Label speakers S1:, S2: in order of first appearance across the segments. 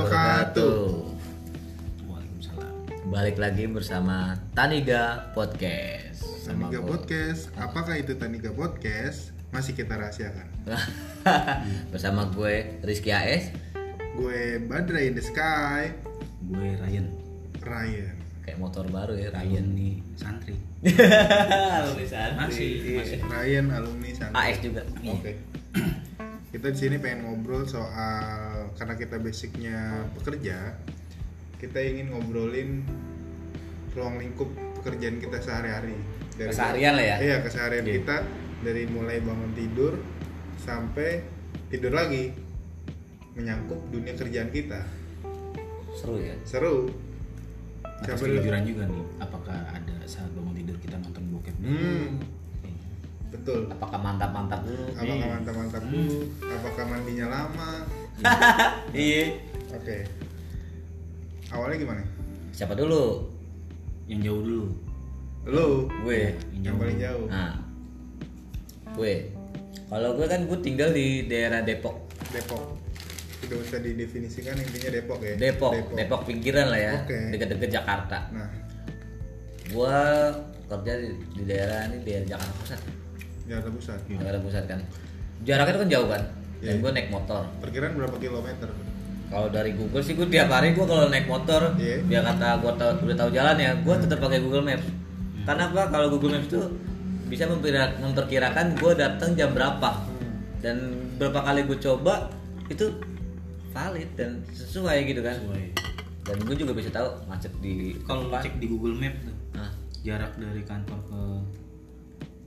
S1: wabarakatuh.
S2: Waalaikumsalam.
S3: Balik lagi bersama Taniga Podcast. Sama
S1: Taniga
S3: gua-
S1: Podcast, apakah itu Taniga Podcast? Masih kita rahasiakan.
S3: bersama gue Rizky AS.
S1: Gue Badra in the Sky,
S2: Gue Ryan.
S1: Ryan.
S3: Kayak motor baru ya
S2: Ryan
S3: Ryan.
S2: nih santri. Masih.
S1: Iya, Ryan alumni sana.
S3: AS juga. Iya.
S1: Oke. Kita di sini pengen ngobrol soal karena kita basicnya pekerja, kita ingin ngobrolin ruang lingkup pekerjaan kita sehari-hari. Dari-
S3: Keseharian lah ya.
S1: Iya, keseharian
S3: Iya.
S1: kita dari mulai bangun tidur sampai tidur lagi menyangkut dunia kerjaan kita.
S3: Seru ya.
S1: Seru.
S2: Atas
S1: Siapa dulu?
S2: kejujuran juga nih. Apakah ada saat bangun tidur kita nonton bokep?
S1: Hmm,
S2: Iya.
S1: betul.
S3: Apakah mantap-mantap dulu?
S1: Apakah mantap-mantap dulu?
S3: Hmm.
S1: Apakah mandinya lama?
S3: Iya.
S1: Oke. Awalnya gimana?
S3: Siapa dulu?
S2: Yang jauh dulu.
S1: Lu
S3: Gue.
S1: yang paling jauh.
S3: Nah. Gue. Kalau gue kan gue tinggal di daerah Depok.
S1: Depok. Tidak usah didefinisikan intinya Depok ya.
S3: Depok, Depok, pinggiran lah ya.
S1: Oke.
S3: Deket-deket Jakarta.
S1: Nah,
S3: Gua kerja di, di daerah ini daerah Jakarta Pusat.
S1: Iya. Jakarta Pusat.
S3: Jakarta Pusat kan. Jaraknya itu kan jauh kan. Dan
S1: Iya.
S3: gua naik motor.
S1: Perkiraan berapa kilometer?
S3: Kalau dari Google sih gua tiap hari gua kalau naik motor,
S1: Iya. Hmm.
S3: dia kata gua tau, udah tahu jalan ya, gua tetap pakai Google Maps. Karena apa? Kalau Google Maps tuh bisa memperkira- memperkirakan gua datang jam berapa.
S1: Hmm.
S3: Dan berapa kali gua coba itu valid dan sesuai gitu kan.
S2: Sesuai.
S3: Dan gua juga bisa tahu macet di
S2: Kalau lu cek di Google Map tuh,
S3: ah,
S2: jarak dari kantor ke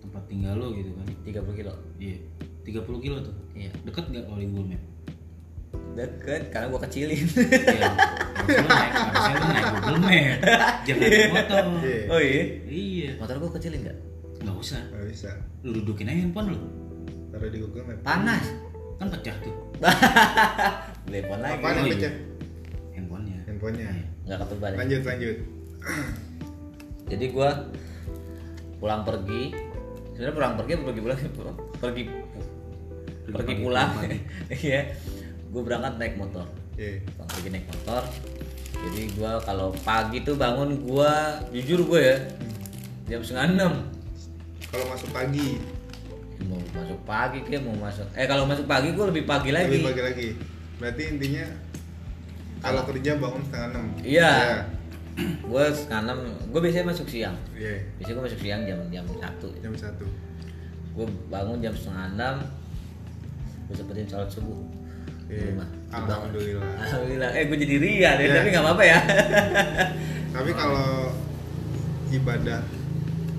S2: tempat tinggal lo gitu kan.
S3: 30 kilo.
S2: Iya. 30 kilo tuh.
S3: Iya.
S2: Deket nggak kalau di Google Map?
S3: Deket karena gua kecilin.
S2: Iya. Harusnya lu naik, harusnya lu naik Google Map. Jangan naik motor.
S1: Iya.
S3: oh iya.
S2: Iya.
S3: Motor gua kecilin nggak?
S2: Nggak usah.
S1: Gak bisa.
S2: Lu dudukin aja handphone lu.
S1: Taruh di Google Map.
S3: Panas.
S1: Hmm.
S2: Kan pecah tuh
S3: Telepon lagi.
S1: Apa yang
S2: iya.
S1: pecah?
S2: handphonenya.
S1: Handphonenya.
S3: Nggak ketebar. ya.
S1: Lanjut lanjut.
S3: Jadi gua pulang pergi. Sebenarnya pulang pergi atau pergi pulang pergi pergi,
S2: pagi,
S3: pulang.
S2: pulang
S3: Iya. gua berangkat naik motor.
S1: Iya.
S3: Pulang pergi naik motor. Jadi gua kalau pagi tuh bangun gua jujur gua ya jam setengah enam
S1: Kalau masuk pagi,
S3: mau masuk pagi kayak mau masuk eh kalau masuk pagi gua lebih pagi lagi
S1: lebih pagi lagi. Berarti intinya kalau kerja bangun setengah enam.
S3: Iya. gue sekarang gue biasanya masuk siang
S1: Iya.
S3: biasanya gue masuk siang jam jam satu
S1: Jam satu.
S3: gue bangun jam setengah enam gue sempetin sholat subuh di
S1: Iya.
S3: rumah
S1: Alhamdulillah.
S3: alhamdulillah eh gue jadi ria deh
S1: Iya.
S3: tapi nggak apa-apa ya Iya.
S1: Tapi kalau ibadah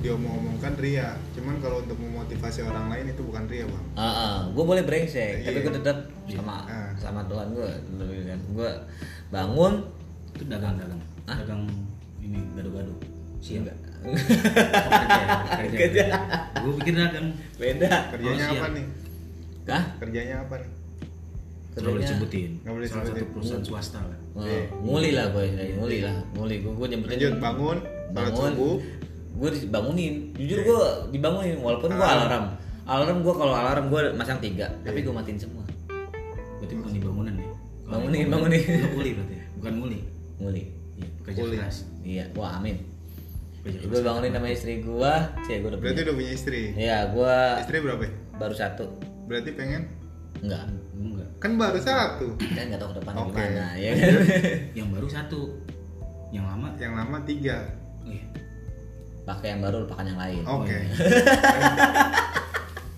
S1: diomong-omongkan ria. Cuman kalau untuk memotivasi orang lain itu bukan ria bang.
S3: gue Ah, boleh brengsek tapi
S1: Iya.
S3: gue tetap sama
S1: Ah.
S3: sama Tuhan gue gue kan. bangun
S2: Itu dagang-dagang.
S3: Hah?
S2: Dagang ini gado-gado.
S1: Iya.
S2: Siang.
S3: enggak
S2: kerja,
S3: Kerja.
S2: kerja. Gue pikir dagang.
S3: beda
S1: Kerjanya
S2: Oh, siap.
S1: apa nih?
S3: kah
S1: Kerjanya apa nih?
S2: Gak boleh
S3: Kerjanya-
S2: disebutin.
S1: Nggak boleh
S2: Salah satu
S1: disebutin.
S2: perusahaan swasta lah.
S3: Wah,
S1: Iya.
S3: nguli lah gue nguli lah nguli gue gue nyempetin
S1: Lanjut bangun, sholat
S3: bangun
S1: subuh.
S3: gue dibangunin jujur gue dibangunin walaupun
S1: Ah.
S3: gue alarm alarm gue kalau alarm gue masang tiga tapi gue matiin semua
S2: Berarti bukan di bangunan ya. Kalau
S3: Bangunin,
S2: di
S3: bangunin.
S2: Lu kuli berarti. Bukan nguli.
S3: nguli
S2: Iya, pekerja
S1: Kuli.
S2: keras.
S3: iya wah amin
S2: Pekerja keras.
S3: gue bangunin sama istri gue sih gue udah
S1: Iya, Berarti
S3: punya
S1: udah punya istri.
S3: iya gue
S1: Istri berapa? ya?
S3: baru satu
S1: Berarti pengen?
S3: enggak
S2: Gua Enggak.
S1: Kan baru satu.
S3: kan nggak tahu ke depan
S1: Oke.
S3: gimana ya kan
S2: Yang baru satu. Yang lama.
S1: Yang lama tiga.
S2: Iya.
S3: pakai yang baru lupakan yang lain
S2: Oh,
S1: Oke.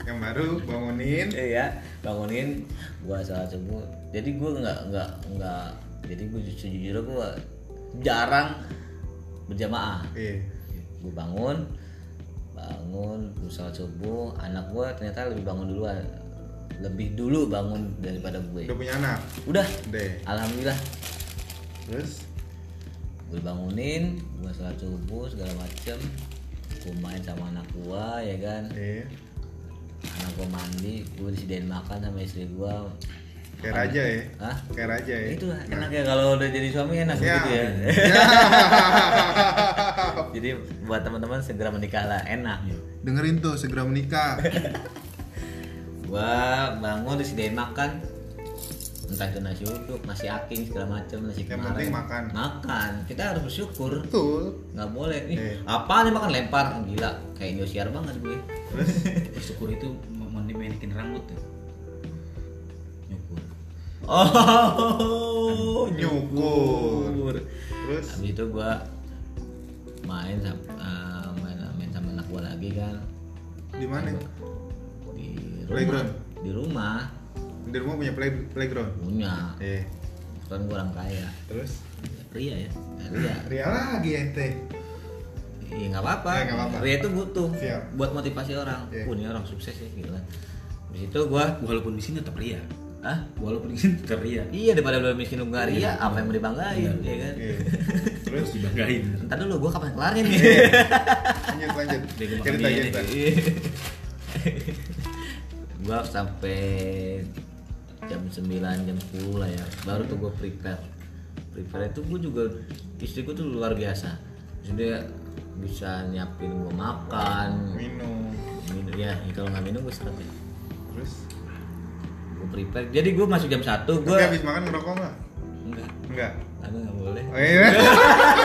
S1: yang baru bangunin.
S3: iya bangunin gua salah subuh jadi gua nggak nggak nggak jadi gua sejujurnya gua jarang berjamaah
S1: Iya.
S3: gua bangun bangun gua salat subuh anak gua ternyata lebih bangun duluan lebih dulu bangun daripada gue
S1: Udah punya anak.
S3: udah
S1: Deh.
S3: alhamdulillah
S1: Terus
S3: gue bangunin gua salat subuh segala macem gua main sama anak gua ya kan
S1: iya.
S3: anak gua mandi gua disediain makan sama istri gua
S1: Kayak raja ya.
S3: Hah?
S1: Kayak raja ya.
S3: Itu enak ya kalau udah jadi suami enak
S1: Ya.
S3: gitu ya.
S1: Ya.
S3: jadi buat teman-teman segera menikah lah enak. gitu.
S1: Dengerin tuh segera menikah.
S3: Gua bangun disediain makan. kan. entah itu nasi uduk nasi aking segala macam nasi
S1: Yang
S3: kemarin.
S1: penting makan.
S3: makan kita harus bersyukur
S1: betul
S3: nggak boleh nih
S1: Eh.
S3: apa nih makan lempar gila kayak Indosiar banget gue
S2: bersyukur itu mau mau dimenikin rambut ya? tuh nyukur
S3: oh
S1: Nyukur. terus
S3: habis itu gue main sama eh, main, main sama anak gue lagi kan
S1: di mana
S3: di rumah
S1: Playground?
S3: di rumah
S1: di rumah punya play playground
S3: punya
S1: eh
S3: kan gue orang kaya
S1: terus
S3: Ria ya Ria
S1: Ria lagi ente
S3: Iya nggak apa-apa.
S1: Ya, nggak apa-apa.
S3: Ria itu butuh
S1: Siap.
S3: buat motivasi orang.
S1: Iya.
S3: Wah, ini orang sukses ya gila. Di situ gua,
S2: walaupun di sini tetap ria
S3: ah
S2: walaupun di sini tetap ria
S3: iya daripada lu miskin lu nggak Ria, apa yang mau dibanggain,
S2: Iya.
S3: ya kan?
S1: Eh, terus
S2: dibanggain
S3: Entar dulu gua kapan kelarnya nih.
S1: lanjut lanjut
S2: Dia gua makan
S1: cerita
S2: mie
S1: cerita
S2: nih.
S3: Iya. gua sampai jam 9 jam 10 lah ya baru tuh gua prepare prepare itu gua juga istri gua tuh luar biasa jadi bisa nyiapin gua makan
S1: minum
S3: minum ya kalau nggak minum gue seret ya
S1: terus
S3: gue prepare jadi gue masuk jam 1 gue
S1: Tapi habis makan ngerokok nggak
S3: enggak
S1: enggak
S3: aku nggak boleh
S1: oh, iya.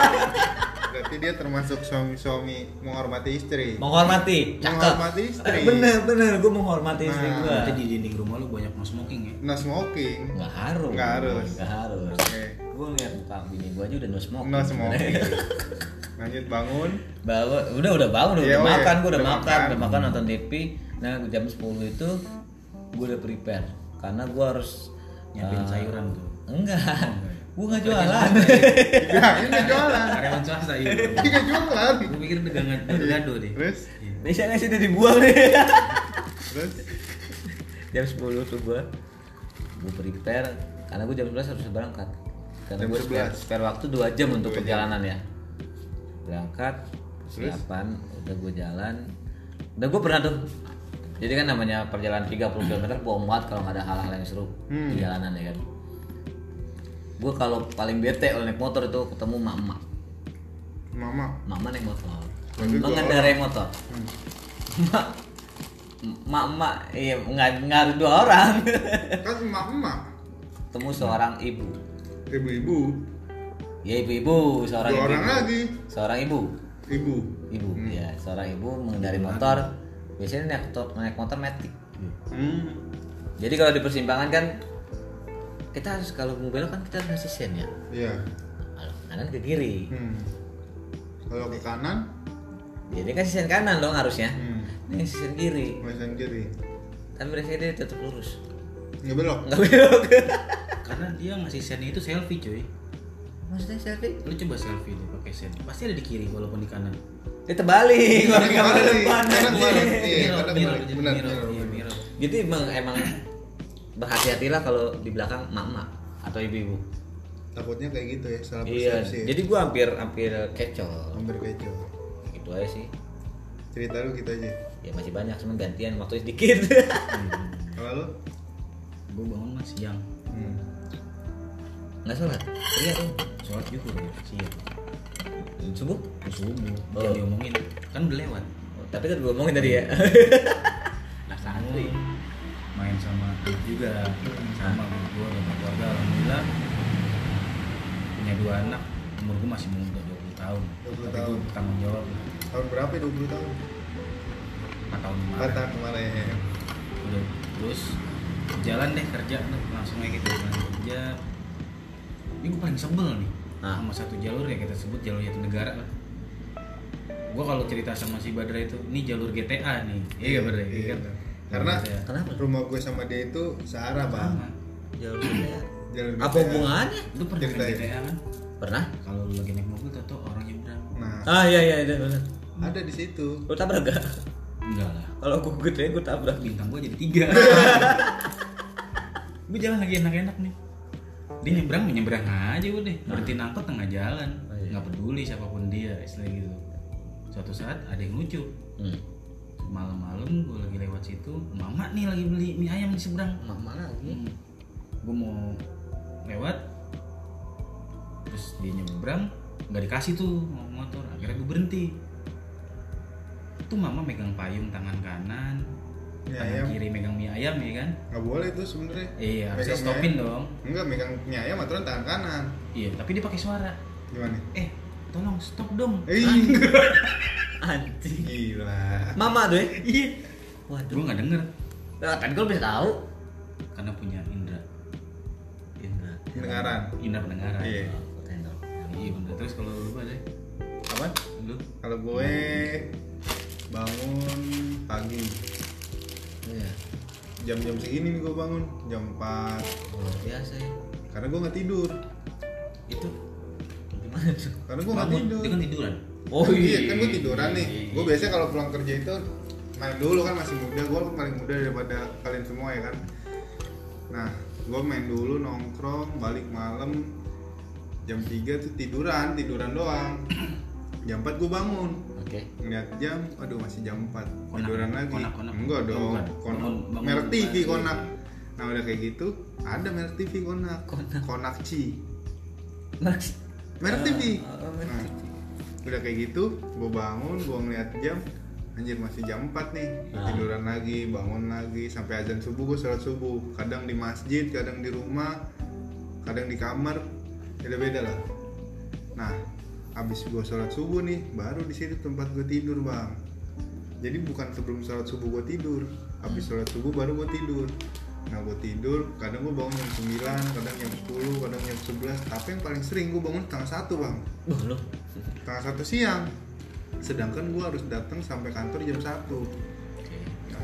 S1: berarti dia termasuk suami-suami menghormati istri
S3: menghormati cakep
S1: Menghormati istri.
S3: bener bener gue menghormati istri
S1: Nah,
S3: gue
S2: nanti di dinding rumah lu banyak no smoking ya
S1: no smoking
S3: nggak harus
S1: Nggak harus.
S3: nggak harus
S1: Oke.
S3: gue lihat muka bini gue aja udah no smoke
S1: no smoking lanjut bangun
S3: bawa udah udah bangun udah,
S1: Iya,
S3: udah
S1: oh iya,
S3: makan gue udah,
S1: udah
S3: makan,
S1: makan.
S3: udah makan nonton TV nah jam 10 itu gue udah prepare karena gue harus
S2: nyiapin
S3: eh,
S2: sayuran tuh Oh, iya.
S3: enggak gue nggak jualan
S1: ya ini nggak jualan
S2: karyawan swasta ya
S1: ini nggak Iya, jualan
S2: gue pikir dagang gado deh
S1: terus
S3: bisa nggak sih udah dibuang nih
S1: terus
S3: jam 10 tuh gue gue prepare karena gue jam 11 harus berangkat karena
S1: Jam
S3: gue spare,
S1: 11.
S3: spare waktu 2 jam untuk
S1: Dua jam.
S3: perjalanan ya berangkat
S1: Terus?
S3: persiapan udah gue jalan udah gue pernah tuh jadi kan namanya perjalanan 30 km bohong banget kalau nggak ada hal-hal yang seru
S1: Hmm.
S3: di jalanan ya kan gue kalau paling bete oleh naik motor itu ketemu mama
S1: mama
S3: mama naik motor
S1: Tapi gua-
S3: mengendarai motor
S1: Hmm.
S3: mak mak mak iya nggak nggak harus dua orang
S1: kan emak-emak
S3: temu seorang ibu
S1: ibu-ibu
S3: ya ibu-ibu seorang
S1: Dua
S3: ibu,
S1: orang lagi. Hmm.
S3: seorang ibu
S1: ibu
S3: ibu ya seorang ibu mengendari motor biasanya naik motor naik motor metik
S1: hmm.
S3: jadi kalau di persimpangan kan kita harus kalau mau belok kan kita harus ngasih sen ya
S1: iya
S3: kalau ke kanan ke kiri
S1: hmm. kalau ke kanan
S3: jadi Ya, kasih sen kanan dong harusnya
S1: hmm.
S3: ini kasih sen kiri
S1: Masan kiri
S3: tapi biasanya dia tetap lurus
S1: iya. nggak belok
S3: nggak belok
S2: karena dia ngasih sen itu selfie cuy
S3: maksudnya selfie
S2: lu coba selfie deh pakai sen pasti ada di kiri walaupun di kanan
S3: dia terbalik
S1: Iya,
S3: orang kamera
S1: terbalik.
S3: depan
S1: Karena kemarin, iya,
S2: Mirror,
S1: karena
S2: mirror,
S1: kemarin.
S2: jadi
S1: Benar,
S2: mirror,
S1: benar,
S2: iya,
S1: benar.
S2: mirror.
S3: jadi emang Gitu, emang berhati-hatilah kalau di belakang mama atau ibu-ibu
S1: takutnya kayak gitu ya salah
S3: iya
S1: persepsi
S3: jadi gua hampir hampir kecol
S1: hampir kecoh
S3: gitu aja sih
S1: cerita lu gitu aja
S3: ya masih banyak cuma gantian waktu sedikit
S1: kalau lu
S2: gue bangun mas siang
S1: hmm.
S3: nggak sholat iya tuh
S2: sholat juga ya siang
S3: subuh
S2: subuh baru diomongin kan udah lewat
S3: Oh, tapi kan gua ngomongin tadi ya
S2: lah santri main sama anak juga sama gue sama keluarga alhamdulillah punya dua anak umur gue masih muda 20 tahun
S1: 20
S2: Tapi
S1: tahun.
S2: gua bertanggung jawab lah.
S1: tahun berapa ya 20 tahun
S2: 4 tahun
S1: empat
S2: kemarin
S1: tahun kemarin
S2: udah terus jalan deh kerja deh, langsung aja kita jalan kerja ini gue paling sebel nih
S3: Ah.
S2: sama satu jalur ya kita sebut jalur jatuh negara lah gue kalau cerita sama si Badra itu ini jalur GTA nih iya gak Badra iya
S1: Iya,
S2: kan
S1: benar. karena
S2: Iya.
S3: Kenapa?
S1: rumah gue sama dia itu searah bang
S2: Sama.
S3: jalur ya
S1: Jalur
S3: apa
S1: BTA.
S3: hubungannya
S2: lu pernah main
S1: Ceritain.
S2: GTA kan
S3: pernah
S2: kalau lu lagi naik mobil tau tau orang yang berang
S1: nah
S3: ah iya iya iya benar
S1: ada di situ
S3: lu tabrak gak
S2: enggak lah
S3: kalau gua gede gua tabrak
S2: bintang gua jadi tiga gue jalan lagi enak-enak nih dia nyebrang nyebrang aja udah berhenti angkot tengah
S3: Iya.
S2: jalan
S3: Nah. Oh, iya.
S2: nggak peduli siapapun dia istilah gitu suatu saat ada yang lucu
S3: hmm.
S2: malam-malam gue lagi lewat situ mama nih lagi beli mie ayam di seberang
S3: mama lagi
S2: hmm. gue mau lewat terus dia nyebrang nggak dikasih tuh sama motor akhirnya gue berhenti tuh mama megang payung tangan kanan
S1: Mie
S2: tangan
S1: ayam.
S2: kiri megang mie ayam ya kan
S1: nggak boleh tuh sebenarnya
S2: iya
S1: Megang
S2: harusnya
S1: mie
S2: stopin
S1: ayam.
S2: dong
S1: enggak megang mie ayam aturan tangan kanan
S2: iya tapi dia pakai suara
S1: gimana
S2: eh tolong stop dong
S1: Ih,
S3: anjing
S1: gila
S3: mama tuh ya iya waduh
S2: gue nggak denger
S3: nah, kan gue bisa tahu
S2: karena punya indra
S3: Indra
S1: pendengaran
S2: indra pendengaran
S1: Iya.
S3: Aku tendang.
S2: iya bener terus kalau lu apa deh
S1: apa
S2: lu
S1: kalau gue bangun pagi
S3: iya
S1: jam-jam segini nih gue bangun jam 4
S3: luar biasa ya
S1: karena gue nggak tidur
S3: itu gimana tuh
S1: karena gue nggak
S2: Bangun,
S1: tidur
S2: dia kan tiduran
S3: oh
S1: Kan iya, kan gue tiduran nih. Gue biasanya kalau pulang kerja itu main dulu kan masih muda, gue paling muda daripada kalian semua ya kan. Nah, gue main dulu nongkrong, balik malam jam 3 tuh tiduran, tiduran doang. Jam 4 gue bangun.
S3: oke
S1: Ngeliat jam, aduh masih jam 4.
S2: Konak,
S1: tiduran lagi.
S2: konak, konak.
S1: Enggak dong,
S2: Bangun,
S1: konak.
S2: bangun, bangun Iya.
S1: merek TV
S2: pagi.
S1: konak. Nah, udah kayak gitu, ada merek TV konak.
S3: Konak.
S1: Konak
S2: Ah,
S1: Ci.
S3: Mas
S1: Merek TV.
S3: Oh, oh, merek
S1: Nah,
S3: TV.
S1: udah kayak gitu, gue bangun, gue ngeliat jam, anjir masih jam 4 nih, Gua
S3: Ah.
S1: tiduran lagi, bangun lagi, sampai azan subuh gue sholat subuh, kadang di masjid, kadang di rumah, kadang di kamar, beda-beda lah. Nah, abis gue sholat subuh nih, baru di situ tempat gue tidur bang. Jadi bukan sebelum sholat subuh gue tidur, abis sholat subuh baru gue tidur. Nah gue tidur, kadang gue bangun jam 9, kadang jam 10, kadang jam 11 Tapi yang paling sering gue bangun setengah satu bang
S3: Wah, lu
S1: setengah satu siang sedangkan gue harus datang sampai kantor jam 1 Nah,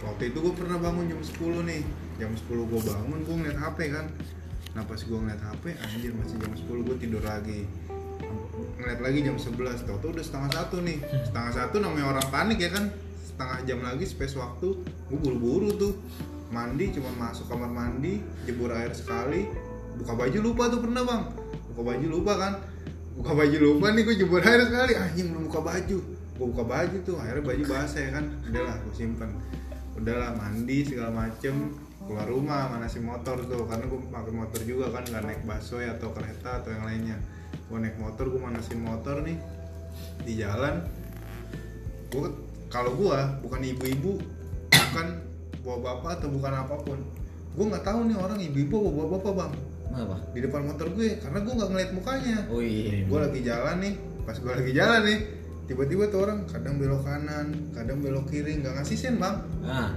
S1: waktu itu gue pernah bangun jam 10 nih jam 10 gue bangun gue ngeliat HP kan nah pas gue ngeliat HP anjir masih jam 10 gue tidur lagi ngeliat lagi jam 11 tau tuh udah setengah satu nih setengah satu namanya orang panik ya kan setengah jam lagi space waktu gue buru-buru tuh mandi cuman masuk kamar mandi jebur air sekali buka baju lupa tuh pernah bang buka baju lupa kan buka baju lupa nih gue jebur air sekali anjing belum buka baju gue buka baju tuh akhirnya baju basah ya kan udahlah gue simpen udahlah mandi segala macem keluar rumah manasin motor tuh karena gue pakai motor juga kan nggak naik busway atau kereta atau yang lainnya gue naik motor gue manasin motor nih di jalan gue kalau gue bukan ibu-ibu bukan bawa bapak atau bukan apapun gue nggak tahu nih orang ibu-ibu atau bawa bapak bang
S3: apa
S1: di depan motor gue karena gue nggak ngeliat mukanya
S3: oh iya
S1: gue lagi jalan nih pas gue lagi jalan nih tiba-tiba tuh orang kadang belok kanan kadang belok kiri nggak ngasih sen bang
S3: ah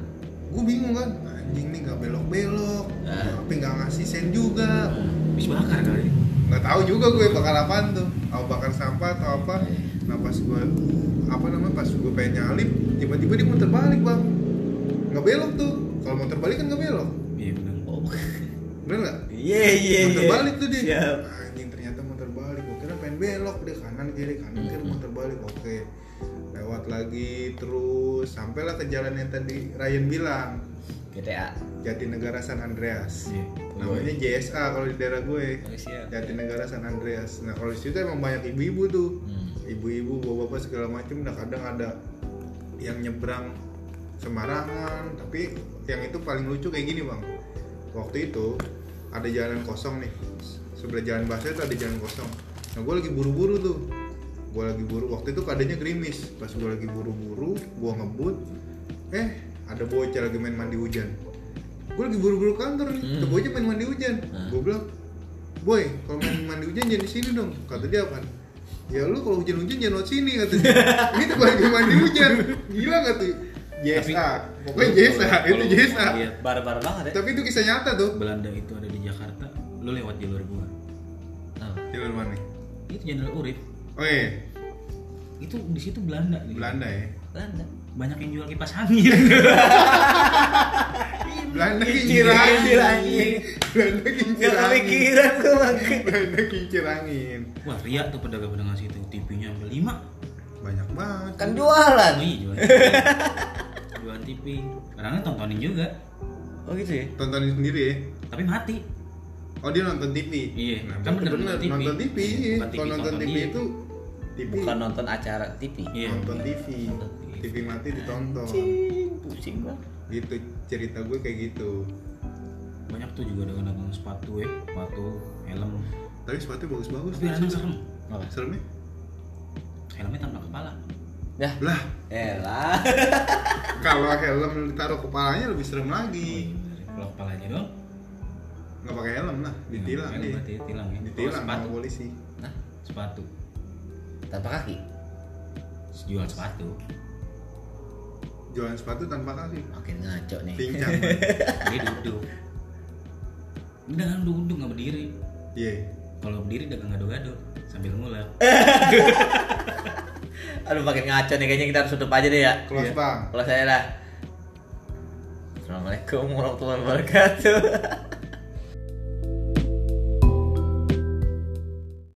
S1: gue bingung kan anjing nih nggak belok-belok
S3: Ah.
S1: tapi nggak ngasih sen juga
S2: habis bakar kali
S1: nggak tahu juga gue bakal apaan tuh mau bakar sampah atau apa nah pas gue apa namanya pas gue pengen nyalip tiba-tiba dia muter balik bang nggak belok tuh kalau muter balik kan nggak belok
S2: iya bener
S3: oh
S1: bener nggak
S3: iya iya
S1: muter
S3: iya
S1: balik tuh dia
S3: Siap.
S1: anjing ternyata muter balik gue kira pengen belok dia kanan kiri kanan kiri muter balik oke lewat lagi terus sampailah ke jalan yang tadi Ryan bilang
S3: GTA
S1: Jatinegara San Andreas
S2: iya
S1: namanya JSA kalau di daerah gue
S3: Oh, siap
S1: Jatinegara San Andreas nah kalau di situ emang banyak ibu-ibu tuh
S3: Hmm.
S1: ibu-ibu bapak-bapak segala macam nah kadang ada yang nyebrang sembarangan tapi yang itu paling lucu kayak gini bang waktu itu ada jalan kosong nih sebelah jalan basah itu ada jalan kosong nah gue lagi buru-buru tuh gue lagi buru waktu itu keadaannya gerimis pas gue lagi buru-buru gue ngebut eh ada bocah lagi main mandi hujan gue lagi buru-buru kantor nih ada
S3: Hmm.
S1: bocah main mandi hujan
S3: Ah.
S1: gue bilang boy kalau main mandi hujan jangan di sini dong kata dia apa ya lu kalau hujan-hujan jangan lewat sini kata dia ini tuh lagi mandi hujan gila gak tuh JSA pokoknya
S2: Lu
S1: JSA
S2: kalau-
S1: itu
S2: kalau
S1: JSA
S2: lihat
S3: barbar banget ya
S1: tapi itu kisah nyata tuh
S2: Belanda itu ada di Jakarta lu lewat jalur gua
S3: Apa?
S1: jalur mana
S2: itu jalur urip
S1: oh iya
S2: itu di situ Belanda gitu.
S1: Belanda ya
S3: Belanda
S2: banyak yang jual kipas angin
S1: Belanda
S2: Iya,
S1: kincir angin
S3: Kincir angin.
S1: Belanda kincir angin
S3: tuh bangke
S1: Belanda kincir angin
S2: wah ria tuh pedagang-pedagang situ TV-nya sampai lima
S1: banyak banget
S3: kan jualan
S2: oh iya jualan jualan TV kadang tontonin juga
S3: oh gitu ya
S1: tontonin sendiri ya
S2: tapi mati
S1: oh dia nonton TV
S2: Iya,
S1: nah,
S2: kan
S1: bener
S2: bener-bener TV.
S1: nonton TV iya.
S2: Bukan
S1: kalau
S2: TV,
S1: nonton
S2: tonton
S1: TV
S2: dia.
S1: itu TV
S3: bukan nonton acara TV
S2: iya
S1: nonton
S2: bener.
S1: TV TV mati ditonton
S3: Cing, pusing banget
S1: gitu cerita gue kayak gitu
S2: banyak tuh juga dagang-dagang sepatu ya sepatu helm
S1: tapi sepatu bagus-bagus
S2: tapi kadang serem
S3: Apa?
S1: serem ya
S2: helmnya tambah kepala
S3: Ya.
S1: Lah,
S3: Elah.
S1: kalau helm ditaruh kepalanya lebih serem lagi.
S2: Oh, iya, Kalau kepalanya dong.
S1: Nggak pakai helm lah, ditilang
S2: Helm
S1: dia.
S2: Berarti tilang ya. Kalau
S1: Ditilang
S2: sepatu.
S1: sama polisi.
S3: Nah,
S2: Sepatu.
S3: tanpa kaki.
S2: Jual sepatu.
S1: Jualan sepatu tanpa kaki.
S3: Makin ngaco nih.
S1: Pincang.
S2: Dia duduk. Dia dagang duduk nggak berdiri.
S1: Iya.
S2: Kalau berdiri dagang gado-gado sambil ngulek.
S3: Aduh makin ngaco nih kayaknya kita harus tutup aja deh ya.
S1: Close
S2: Iya.
S1: bang.
S3: Kalau saya dah. Assalamualaikum warahmatullahi wabarakatuh.